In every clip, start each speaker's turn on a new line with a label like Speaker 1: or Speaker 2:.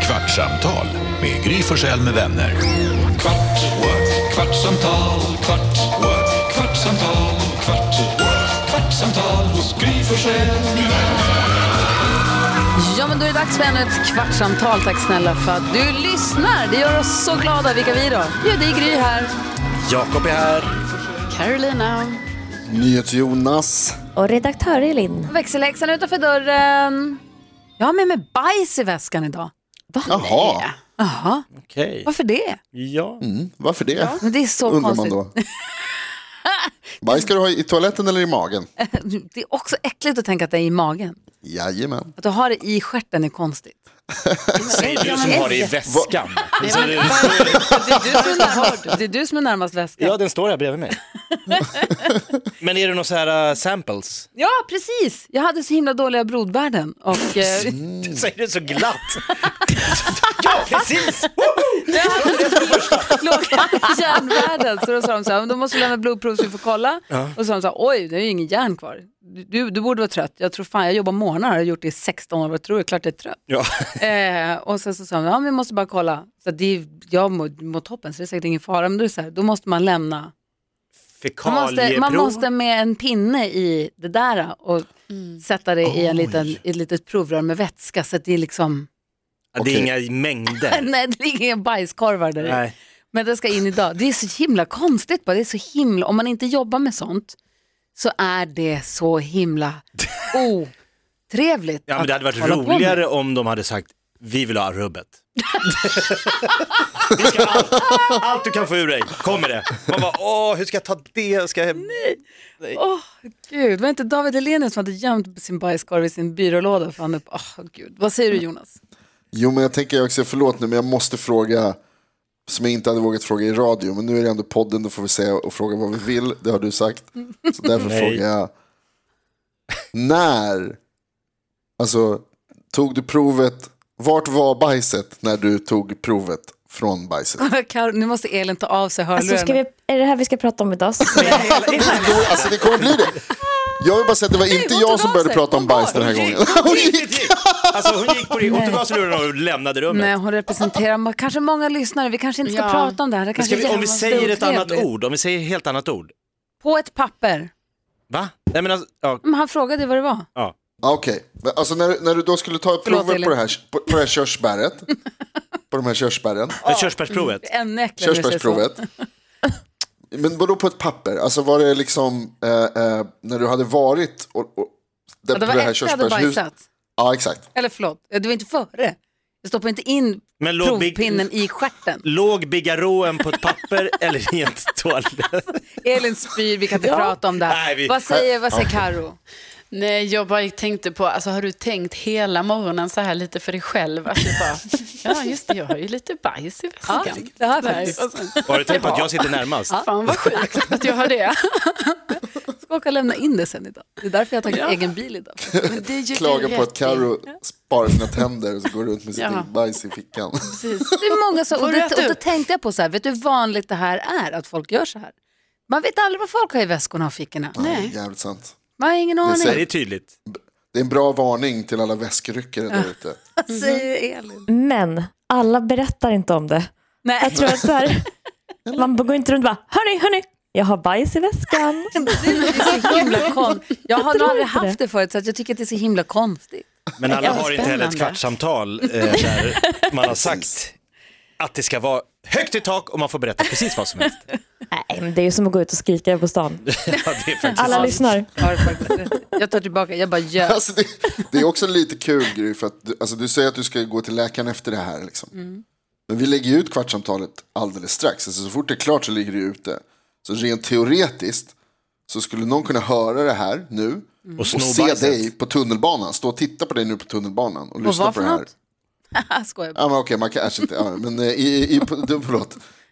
Speaker 1: Kvartsamtal med Gry Forssell med vänner. Kvart, what? kvartsamtal, kvart, what? kvartsamtal, kvart, what? kvartsamtal hos Gry Forssell med vänner.
Speaker 2: Ja, men då är det dags för ännu ett kvartsamtal. Tack snälla för att du lyssnar. Det gör oss så glada. Vilka vi då? Ja, det är Gry här.
Speaker 3: Jakob är här.
Speaker 2: Carolina.
Speaker 4: NyhetsJonas.
Speaker 5: Och redaktör Elin.
Speaker 2: Växelhäxan utanför dörren. Jag har med mig bajs i väskan idag.
Speaker 4: Jaha,
Speaker 2: Jaha,
Speaker 3: Okej.
Speaker 2: varför det?
Speaker 3: Ja.
Speaker 4: mm, varför det?
Speaker 2: Men det är så
Speaker 4: Undrar man
Speaker 2: konstigt.
Speaker 4: då. Bajs ska du ha i toaletten eller i magen?
Speaker 2: Det är också äckligt att tänka att det är i magen.
Speaker 4: Jajamän.
Speaker 2: Att du har det i stjärten är konstigt.
Speaker 3: Säger du som har det i väskan. Så det-
Speaker 2: Det är du som är närmast, det är du som är närmast väskan.
Speaker 3: Ja, den står här bredvid mig. Men är det några så här äh, samples?
Speaker 2: Ja, precis. Jag hade så himla dåliga brodvärden. Och, eh,
Speaker 3: Du säger det så glatt. ja, precis.
Speaker 2: Jag hade så låga järnvärden. Så då sa de så här, "Men då måste vi lämna blodprov så vi får kolla. Och så sa de så här, oj, det är ju ingen järn kvar. Du, du borde vara trött. Jag tror fan, jag jobbar morgnar och har gjort det i 16 år. Vad tror du? Klart jag är trött.
Speaker 3: Ja.
Speaker 2: Eh, och sen så sa de, ja men vi måste bara kolla. Så att det är, jag mår, mår toppen så det är säkert ingen fara. Men då, är det så här, då måste man lämna. Man måste,
Speaker 3: Fekalieprov.
Speaker 2: man måste med en pinne i det där och sätta det i en liten, i ett litet provrör med vätska. Så att det är liksom,
Speaker 3: Ja, Det är inga mängder.
Speaker 2: nej det ligger inga bajskorvar där i.
Speaker 3: Nej.
Speaker 2: Men den ska in idag. Det är så himla konstigt bara. Det är så himla, om man inte jobbar med sånt så är det så himla otrevligt.
Speaker 3: Ja, men det hade
Speaker 2: att
Speaker 3: varit
Speaker 2: hålla på med.
Speaker 3: roligare om de hade sagt vi vill ha rubbet. Vi ska ha allt, allt du kan få ur dig, kom med det. Man bara, åh, hur ska jag ta det? Ska jag...
Speaker 2: Åh gud, var det inte David Helenius som hade gömt sin bajskorv i sin byrålåda? För han upp... Åh gud. Vad säger du Jonas?
Speaker 4: Jo, men jag tänker också, förlåt nu, men jag måste fråga som jag inte hade vågat fråga i radio, men nu är det ändå podden, då får vi säga och fråga vad vi vill, det har du sagt. Så därför
Speaker 3: Nej.
Speaker 4: frågar jag, när, alltså, tog du provet, vart var bajset när du tog provet från bajset?
Speaker 2: Karo, nu måste Elin ta av sig hörlurarna.
Speaker 5: Alltså, ska vi, är det här vi ska prata om idag?
Speaker 4: Jo, alltså det kommer bli det. Jag vill bara säga att det var inte
Speaker 2: hon
Speaker 4: jag
Speaker 2: tog
Speaker 4: som
Speaker 2: av
Speaker 4: började
Speaker 2: sig.
Speaker 4: prata
Speaker 2: Hon
Speaker 4: om bajs
Speaker 2: var-
Speaker 4: den här
Speaker 3: Hon gick,
Speaker 4: gången.
Speaker 3: hon gick, hon gick. Alltså hon gick på det, hon tog av sig lurarna och lämnade rummet.
Speaker 2: Nej, hon representerar ma- kanske många lyssnare. Vi kanske inte ska
Speaker 6: Ja.
Speaker 2: prata om det här. Det
Speaker 3: Men
Speaker 2: kanske
Speaker 3: ska vi, om vi
Speaker 2: är
Speaker 3: säger ett annat
Speaker 2: jävligt otrevligt.
Speaker 3: ord, om vi säger ett helt annat ord.
Speaker 2: På ett papper.
Speaker 3: Va? Nej men alltså, ja,
Speaker 2: Men han frågade vad det var.
Speaker 3: ja.
Speaker 4: Ja, Okej, Men alltså när, när du då skulle ta provet
Speaker 2: Elin.
Speaker 4: på det här, på, på det här körsbäret, på de här körsbären,
Speaker 3: Men körsbärsprovet.
Speaker 2: Ännu äckligare. när jag säger så.
Speaker 4: körsbärsprovet. Men vadå på ett papper? Alltså var det liksom eh, eh, när du hade varit och, och där,
Speaker 2: Ja, det var
Speaker 4: på det här
Speaker 2: efter jag hade
Speaker 4: körsbärshus-
Speaker 2: bajsat.
Speaker 4: Ja, exakt.
Speaker 2: Eller förlåt, eh, det var inte före. Jag stoppade inte in
Speaker 3: Men låg Big-
Speaker 2: provpinnen i stjärten.
Speaker 3: Låg bigarråen på ett papper eller i en toalett?
Speaker 2: Elin spyr, vi kan inte prata om det här.
Speaker 3: Nej, vi-
Speaker 2: Vad säger, vad säger Karo?
Speaker 6: Nej, jag bara tänkte på, alltså har du tänkt hela morgonen så här lite för dig själv? Att du bara, ja just det, jag har ju lite bajs i
Speaker 2: Ja,
Speaker 6: väskan.
Speaker 2: det här faktiskt.
Speaker 3: Har du tänkt på att jag sitter närmast?
Speaker 6: Fan vad sjukt att jag har det.
Speaker 2: Jag ska åka och lämna in det sen idag. Det är därför jag har tagit egen bil idag.
Speaker 6: Men det är ju
Speaker 4: Klaga
Speaker 6: du
Speaker 4: på
Speaker 6: rätt
Speaker 4: att Carro
Speaker 6: i.
Speaker 4: sparar sina tänder och så går runt med sitt
Speaker 6: Ja.
Speaker 4: eget bajs i fickan.
Speaker 6: Precis.
Speaker 2: Det är många som, och,
Speaker 6: Får du
Speaker 2: det,
Speaker 6: äta
Speaker 2: och då
Speaker 6: upp?
Speaker 2: tänkte jag på så här, vet du hur vanligt det här är att folk gör så här? Man vet aldrig vad folk har i väskorna och fickorna.
Speaker 4: Ja, jävligt sant.
Speaker 2: Man har ingen aning.
Speaker 3: Nej,
Speaker 4: säger-
Speaker 3: det är tydligt.
Speaker 4: Det är en bra varning till alla väskryckare där ute.
Speaker 2: Vad säger Elin?
Speaker 5: Men alla berättar inte om det.
Speaker 2: Nej,
Speaker 5: Jag tror att så här, man går inte runt och bara, hörni, hörni, jag har bajs i väskan.
Speaker 2: det är så himla konstigt. Jag har nog
Speaker 5: tror
Speaker 2: aldrig
Speaker 5: inte
Speaker 2: haft det förut så att jag tycker att det är så himla konstigt.
Speaker 3: Men alla
Speaker 6: Ja,
Speaker 3: har inte heller ett
Speaker 6: spännande.
Speaker 3: kvartssamtal eh, där man har sagt att det ska vara högt i tak och man får berätta precis vad som helst.
Speaker 5: Nej, men det är ju som att gå ut och skrika på stan.
Speaker 3: Ja, det är faktiskt
Speaker 5: Alla lyssnar.
Speaker 2: Jag har faktiskt rätt. Jag tar tillbaka, jag bara ljög.
Speaker 4: Alltså det, det är också lite kul Gry, för att du, alltså du säger att du ska gå till läkaren efter det här. Liksom.
Speaker 2: Mm.
Speaker 4: Men vi lägger ju ut kvartssamtalet alldeles strax. Alltså, så fort det är klart så ligger det ute. Så rent teoretiskt så skulle någon kunna höra det här nu
Speaker 2: Mm.
Speaker 3: Och
Speaker 4: och
Speaker 3: sno
Speaker 4: se
Speaker 3: bajset.
Speaker 4: dig på tunnelbanan. Stå och titta på dig nu på tunnelbanan och lyssna
Speaker 2: vad
Speaker 4: på
Speaker 2: för
Speaker 4: det här.
Speaker 2: något? Skojar bara.
Speaker 4: Ja, men okej, man kanske inte... Ja, men eh, i, i, på, du, förlåt,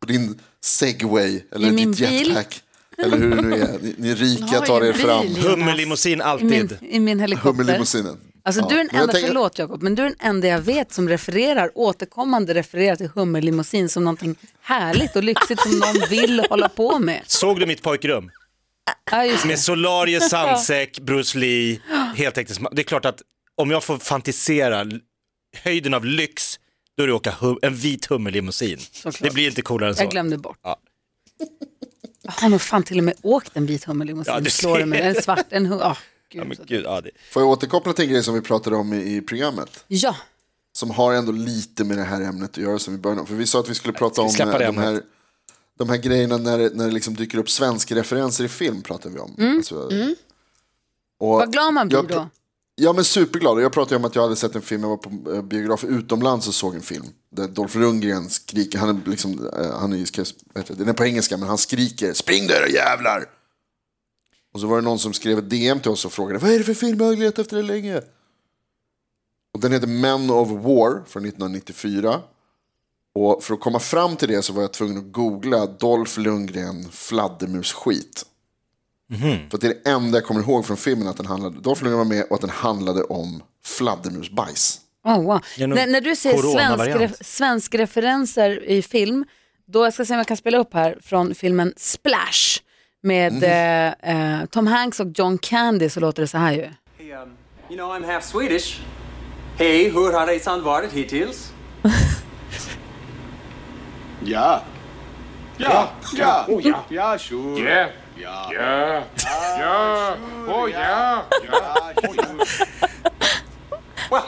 Speaker 4: på din segway eller
Speaker 2: I min
Speaker 4: ditt jetpack. Eller hur det nu är. Ni, ni rika
Speaker 6: har
Speaker 4: tar
Speaker 6: ju
Speaker 4: er fram.
Speaker 6: bil.
Speaker 3: Hummerlimousin
Speaker 2: I
Speaker 3: alltid.
Speaker 2: min, I min helikopter.
Speaker 4: Hummerlimousinen.
Speaker 2: Alltså du är den
Speaker 4: men jag
Speaker 2: enda,
Speaker 4: tänker-
Speaker 2: förlåt Jakob, men du är den enda jag vet som refererar, återkommande refererar till hummerlimousin som någonting härligt och lyxigt som någon vill hålla på med.
Speaker 3: Såg du mitt pojkrum?
Speaker 2: Ja, just det.
Speaker 3: Med solarie, sandsäck, Bruce Lee, heltäckningsmatta. Det är klart att om jag får fantisera l- höjden av lyx Då är det att åka hum- en vit hummerlimousin.
Speaker 2: Såklart.
Speaker 3: Det blir inte coolare än så.
Speaker 2: Jag glömde bort.
Speaker 3: Ja.
Speaker 2: Jag har nog fan till och med åkt en vit hummerlimousin.
Speaker 3: Ja, du
Speaker 2: och slår den med en svart, en hum- ah,
Speaker 3: ja,
Speaker 2: gud.
Speaker 3: men
Speaker 2: så-
Speaker 3: gud, ja, det...
Speaker 4: Får jag återkoppla till en grej som vi pratade om i, i programmet?
Speaker 2: ja,
Speaker 4: Som har ändå lite med det här ämnet att göra som i början. För vi sa att vi skulle prata
Speaker 3: vi
Speaker 4: om
Speaker 3: släppa
Speaker 4: eh,
Speaker 3: det
Speaker 4: de
Speaker 3: ämnet?
Speaker 4: här, de här grejerna när, det- när det liksom dyker upp svenska referenser i film. pratar vi om.
Speaker 3: Mm.
Speaker 4: Alltså, och-
Speaker 2: vad glad man blir
Speaker 4: jag pr-
Speaker 2: då.
Speaker 4: Ja men superglad. Och Jag pratade ju om att jag hade sett en film, jag var på eh, biograf utomlands och såg en film. Där Dolph Lundgren skriker, han är liksom, eh, han är ju, ska- vad heter det? den är på engelska, men han skriker spring där jävlar! Och så var det någon som skrev ett DM till oss och frågade vad är det för film, jag har letat efter det länge. Och den heter Men of War från 1994. Och för att komma fram till det så var jag tvungen att googla Dolph Lundgren fladdermusskit. För att det är det enda jag kommer ihåg från filmen att den handlade, Dolph Lundgren var med och att den handlade om fladdermusbajs.
Speaker 2: Oh, wow.
Speaker 3: Genom
Speaker 2: när, när du säger svensk,
Speaker 3: coronavariant.
Speaker 2: ref- svensk referenser i film, då jag ska se om jag kan spela upp här från filmen Splash med
Speaker 3: Mm.
Speaker 2: eh, eh, Tom Hanks och John Candy så låter det så här ju.
Speaker 7: Hey, um, you know, I'm half Swedish. Hej, hur har resan varit hittills?
Speaker 8: Ja. Ja, ja, oh ja, ja, sure.
Speaker 9: Ja. Ja. Ja. Ja. Oh ja.
Speaker 8: Ja, sure.
Speaker 7: Well,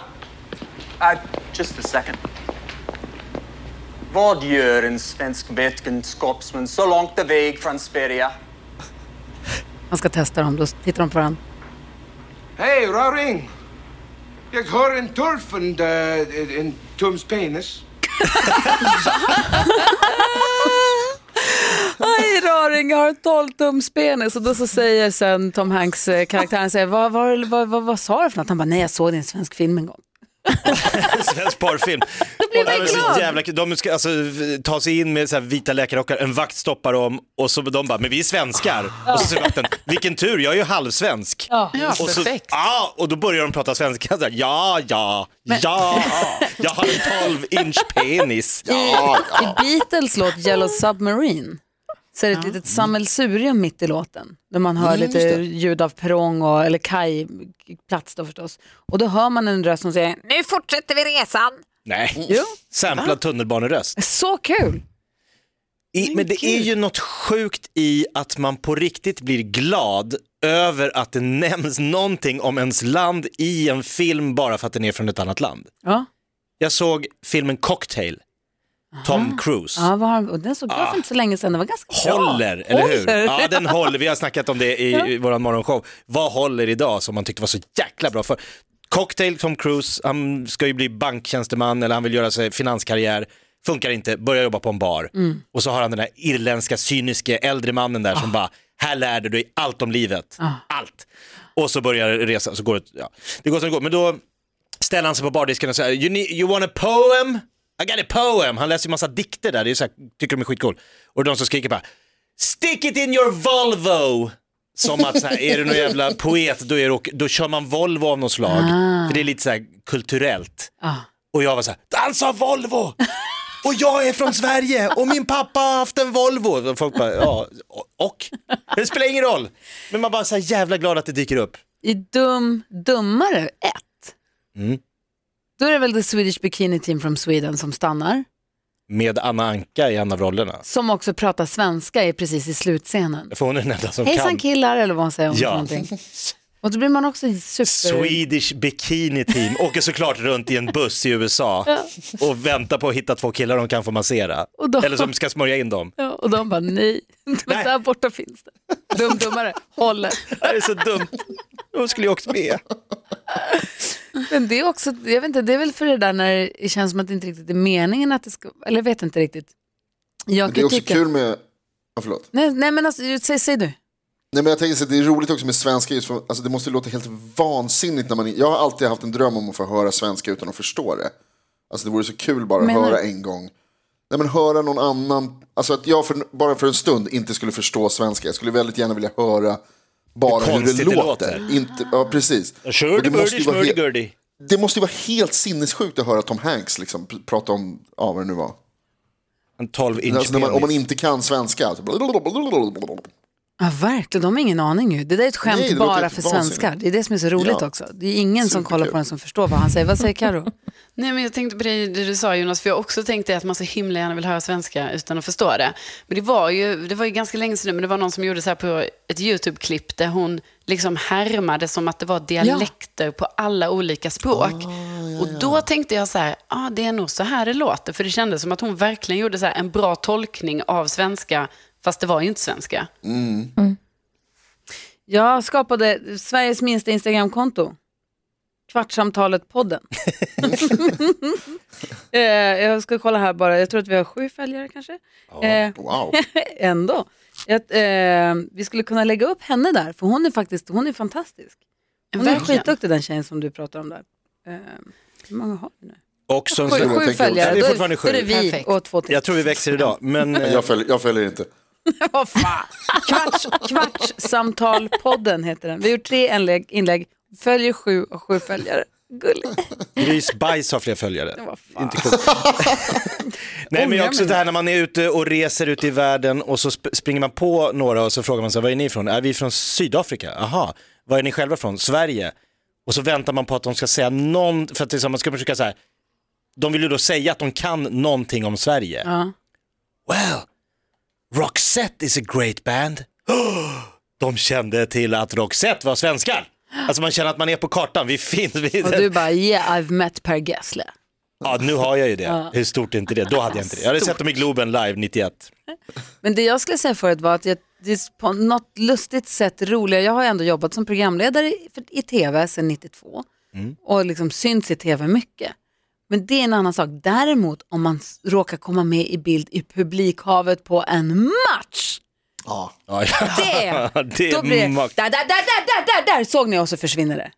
Speaker 7: I, just a second. Vad gör en svensk vetenskapsman så långt väg från Sverige?
Speaker 2: Man ska testa dem, då tittar de på varandra.
Speaker 9: Hej, Raring! Jag hör en turf en, eh, en tums penis.
Speaker 2: Aj, raring, jag har en 12-tums penis. Och då så säger sen Tom Hanks eh, karaktär, han säger, vad, vad, vad, vad, vad sa du för något? Han bara, nej jag såg din svensk film en gång.
Speaker 3: Svensk porrfilm. Då
Speaker 2: blir man glad.
Speaker 3: Jävla, kul. de ska alltså, v- ta sig in med så här vita läkarrockar, en vakt stoppar dem och så de bara, men vi är svenskar. Och så säger vakten, vilken tur, jag är ju halvsvensk.
Speaker 6: Ja,
Speaker 3: Och, så,
Speaker 6: perfekt.
Speaker 3: ah, och då börjar de prata svenska. Så här, ja, ja, ja, jag har en 12 inch penis.
Speaker 4: Ja, ja.
Speaker 2: I Beatles låt Yellow Submarine så är det ett litet sammelsurium mitt i låten. Där man hör lite ljud av perrong och, eller kajplats då förstås. Och då hör man en röst som säger, nu fortsätter vi resan.
Speaker 3: Nej,
Speaker 2: Jo,
Speaker 3: samplad tunnelbaneröst.
Speaker 2: så kul.
Speaker 3: I, men det är ju något sjukt i att man på riktigt blir glad över att det nämns någonting om ens land i en film bara för att den är från ett annat land.
Speaker 2: Ja,
Speaker 3: Jag såg filmen Cocktail, Tom Cruise.
Speaker 2: ja vad har, och den såg jag för inte så länge sedan, den var ganska
Speaker 3: Ah. Håller,
Speaker 2: bra.
Speaker 3: eller hur?
Speaker 2: Håller.
Speaker 3: Ja, den håller. Vi har snackat om det i i vår morgonshow. Vad håller idag som man tyckte var så jäkla bra för? Cocktail, Tom Cruise, han ska ju bli banktjänsteman eller han vill göra sig finanskarriär. Funkar inte, börjar jobba på en bar.
Speaker 2: Mm.
Speaker 3: Och så har han den där irländska cyniske äldre mannen där
Speaker 2: Ah.
Speaker 3: som bara, här lär du dig allt om livet. Allt. Och så börjar resan, så går det, ja. det går som det går. Men då ställer han sig på bardisken och säger you, need, you want a poem? I got a poem. Han läser ju massa dikter där, det är så här, tycker de är skitcool. Och de som skriker bara Stick it in your Volvo! Som att så här, är du någon jävla poet då, är du, då kör man Volvo av något slag. För det är lite så här kulturellt. Och jag var så här, han sa Volvo! Och jag är från Sverige och min pappa har haft en Volvo. Och folk bara, ja, och? Det spelar ingen roll. Men man bara så här jävla glad att det dyker upp.
Speaker 2: i Dum Dummare 1.
Speaker 3: Mm.
Speaker 2: Då är det väl The Swedish Bikini Team from Sweden som stannar,
Speaker 3: Med Anna Anka i en av rollerna.
Speaker 2: som också pratar svenska i precis i slutscenen.
Speaker 3: För hon är den enda som
Speaker 2: Hejsan
Speaker 3: kan.
Speaker 2: killar eller vad hon säger om
Speaker 3: Ja.
Speaker 2: ja. någonting. Och då blir man också super...
Speaker 3: Swedish Bikini Team åker såklart runt i en buss i USA och väntar på att hitta två killar de kan få massera.
Speaker 2: Och då-
Speaker 3: Eller som ska smörja in dem.
Speaker 2: Ja, och de bara nej, men där borta finns det. Dum Dummare håller.
Speaker 3: Det här är så dumt. De skulle ju åkt med.
Speaker 2: Men det är också, jag vet inte, det är väl för det där när det känns som att det inte riktigt är meningen att det ska, eller jag vet inte riktigt. Jag
Speaker 4: Det är
Speaker 2: kan
Speaker 4: också
Speaker 2: tycka...
Speaker 4: kul med, ja, förlåt.
Speaker 2: Nej, nej men alltså, säg, säg du.
Speaker 4: Nej, men jag tänker så att det är roligt också med svenska, just för, alltså, det måste ju låta helt vansinnigt. När man, jag har alltid haft en dröm om att få höra svenska utan att förstå det. Alltså det vore så kul bara att
Speaker 2: Menar du?
Speaker 4: höra en gång. Nej men höra någon annan, alltså att jag för, bara för en stund inte skulle förstå svenska. Jag skulle väldigt gärna vilja höra bara
Speaker 3: Hur
Speaker 4: hur,
Speaker 3: konstigt
Speaker 4: det
Speaker 3: det
Speaker 4: låter.
Speaker 3: låter.
Speaker 4: Inte, ja precis. Och det, måste ju vara helt,
Speaker 3: Shurdy-burdy,
Speaker 4: det måste ju vara helt sinnessjukt att höra Tom Hanks liksom, pr- prata om, ja vad det nu var.
Speaker 3: En 12 inch
Speaker 4: Alltså, när man, om man
Speaker 3: penis.
Speaker 4: inte kan svenska. Alltså,
Speaker 2: Ja, verkligen. De har ingen aning ju. Det där är ett skämt
Speaker 4: Nej, det låter
Speaker 2: bara
Speaker 4: helt
Speaker 2: för
Speaker 4: vansinnigt.
Speaker 2: svenskar. Det är det som är så roligt
Speaker 4: Ja.
Speaker 2: också. Det är ingen som kollar
Speaker 4: Superkul.
Speaker 2: på den som förstår vad han säger. Vad säger Karo?
Speaker 6: Nej, men jag tänkte på det det du sa Jonas, för jag har också tänkt det att man så himla gärna vill höra svenska utan att förstå det. Men det var ju, det var ju ganska länge sedan nu, men det var någon som gjorde så här på ett YouTube-klipp där hon liksom härmade som att det var dialekter på alla olika språk. Och då tänkte jag så här, ah, det är nog så här det låter, för det kändes som att hon verkligen gjorde så här en bra tolkning av svenska, fast det var ju inte svenska.
Speaker 2: Jag skapade Sveriges minsta Instagramkonto. Kvartsamtalet-podden. eh, jag ska kolla här bara. Jag tror att vi har sju följare kanske. Eh,
Speaker 4: Wow.
Speaker 2: ändå. Att, eh, vi skulle kunna lägga upp henne där, för hon är faktiskt hon är fantastisk. Hon är
Speaker 6: Verkligen.
Speaker 2: skitduktig den tjejen som du pratar om där. Eh, hur många har vi nu?
Speaker 3: Och som
Speaker 2: Sju,
Speaker 4: jag
Speaker 2: sju
Speaker 4: tänker
Speaker 2: följare.
Speaker 3: också. Ja, det är
Speaker 2: Då
Speaker 3: fortfarande sju.
Speaker 2: Då är det vi
Speaker 6: Perfekt.
Speaker 2: och två till.
Speaker 3: Jag tror vi växer idag, men eh,
Speaker 4: Jag följer, jag följer inte.
Speaker 2: Vad fan. Kvarts, kvartssamtalpodden heter den. Vi har gjort tre inlägg, inlägg följer sju och sju följare. Gulligt.
Speaker 3: Grys eh, Bajs har fler följare.
Speaker 2: Vad fan.
Speaker 3: Inte klokt. Nej men jag också det här när man är ute och reser ute i världen och så sp- springer man på några och så frågar man sig, var är ni ifrån? Är vi från Sydafrika? Aha. Var är ni själva från? Sverige? Och så väntar man på att de ska säga någon, för att det är så, man ska försöka så här, de vill ju då säga att de kan någonting om Sverige. Well, Roxette is a great band. De kände till att Roxette var svenskar. Alltså man känner att man är på kartan, vi finns. Vi
Speaker 2: Och du bara, yeah I've met Per Gessle.
Speaker 3: Ja, nu har jag ju det. Hur stort är inte det? Då hade jag inte det. Jag hade sett dem i Globen live 91.
Speaker 2: Men det jag skulle säga förut var att jag, det är på något lustigt sätt roligare. Jag har ju ändå jobbat som programledare i, för, i tv sedan 92 och liksom syns i tv mycket. Men det är en annan sak. Däremot om man s- råkar komma med i bild i publikhavet på en match.
Speaker 3: Ja,
Speaker 2: Det,
Speaker 3: det
Speaker 2: då blir det,
Speaker 3: är makt.
Speaker 2: där, där, där, där, där, där, där såg ni och så försvinner det.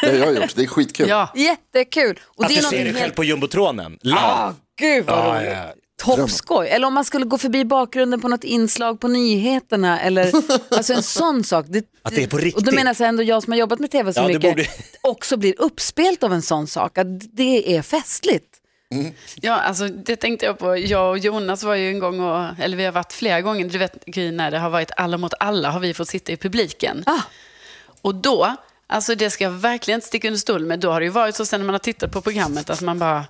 Speaker 4: Det har jag gjort, det är skitkul.
Speaker 6: Ja,
Speaker 2: Jättekul. Och
Speaker 3: Att
Speaker 2: det
Speaker 3: du
Speaker 2: är
Speaker 3: ser
Speaker 2: någonting
Speaker 3: dig själv
Speaker 2: helt...
Speaker 3: på jumbotronen. Live.
Speaker 2: Ah, gud vad
Speaker 3: Ja,
Speaker 2: roligt.
Speaker 3: ja.
Speaker 2: Toppskoj. Eller om man skulle gå förbi bakgrunden på något inslag på nyheterna eller alltså en sån sak.
Speaker 3: Att det är på
Speaker 2: Och då
Speaker 3: riktigt.
Speaker 2: menar jag ändå jag som har jobbat med tv så
Speaker 3: Ja, det
Speaker 2: mycket
Speaker 3: borde-
Speaker 2: också blir uppspelt av en sån sak. Att det är festligt.
Speaker 6: Ja, alltså det tänkte jag på. Jag och Jonas var ju en gång, och, eller vi har varit flera gånger, du vet Gry, när det har varit alla mot alla har vi fått sitta i publiken. Och då, alltså det ska jag verkligen inte sticka under stol med, då har det ju varit så sen när man har tittat på programmet att man bara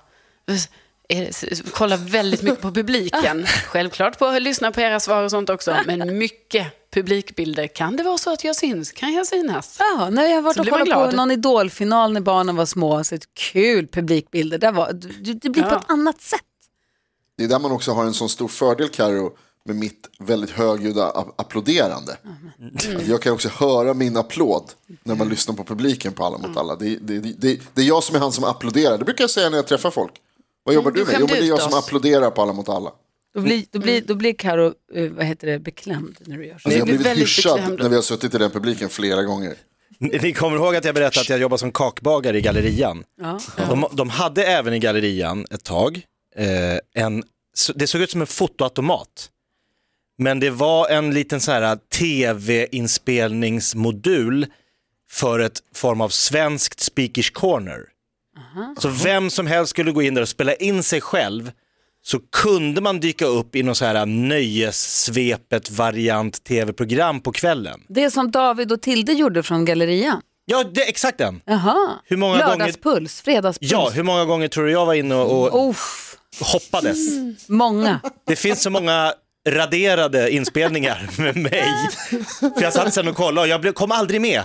Speaker 6: är, s- kollar väldigt mycket på publiken. Självklart på att lyssna på era svar och sånt också, men mycket publikbilder. Kan det vara så att jag syns? Kan jag synas?
Speaker 2: Ja, när jag har varit
Speaker 6: Så
Speaker 2: och
Speaker 6: blir man
Speaker 2: kollat på
Speaker 6: glad.
Speaker 2: någon idolfinal när barnen var små, så ett kul publikbilder. Det, var, det, det blir på
Speaker 6: Ja.
Speaker 2: ett annat sätt.
Speaker 4: Det är där man också har en sån stor fördel, Karo med mitt väldigt högljudda a- applåderande. Att Jag kan också höra min applåd när man lyssnar på publiken på Alla mot alla. Det, det, det, det är jag som är han som applåderar. Det brukar jag säga när jag träffar folk. Vad jobbar
Speaker 6: Mm,
Speaker 4: du
Speaker 6: du
Speaker 4: med? Jo, men
Speaker 6: skämde
Speaker 4: det är jag
Speaker 6: ut
Speaker 4: som
Speaker 6: oss.
Speaker 4: applåderar på Alla Alltså, mot alla.
Speaker 2: Då blir, då blir, då blir Karo, eh, vad heter det, beklämd när du gör så.
Speaker 4: Alltså, jag har
Speaker 6: blir
Speaker 4: blivit
Speaker 6: väldigt
Speaker 4: hyschad
Speaker 6: beklämd då.
Speaker 4: när vi har suttit i den publiken flera gånger.
Speaker 3: Ni kommer ihåg att jag berättade att jag jobbar som kakbagare i gallerian.
Speaker 2: Ja.
Speaker 3: De, de hade även i gallerian ett tag, eh, en, så- det såg ut som en fotoautomat. Men det var en liten så här tv-inspelningsmodul för ett form av svenskt speakers corner. Så vem som helst skulle gå in där och spela in sig själv så kunde man dyka upp i någon så här nöjessvepet variant tv-program på kvällen.
Speaker 2: Det som David och Tilde gjorde från gallerian.
Speaker 3: Ja, det, exakt den.
Speaker 2: Jaha.
Speaker 3: Hur många gånger-
Speaker 2: Lördagspuls, fredagspuls.
Speaker 3: Ja, hur många gånger tror du jag var inne
Speaker 2: Mm.
Speaker 3: och, och
Speaker 2: Uff,
Speaker 3: hoppades?
Speaker 2: många.
Speaker 3: Det finns så många raderade inspelningar med mig. För jag satt sen och kollade och jag blev- kom aldrig med.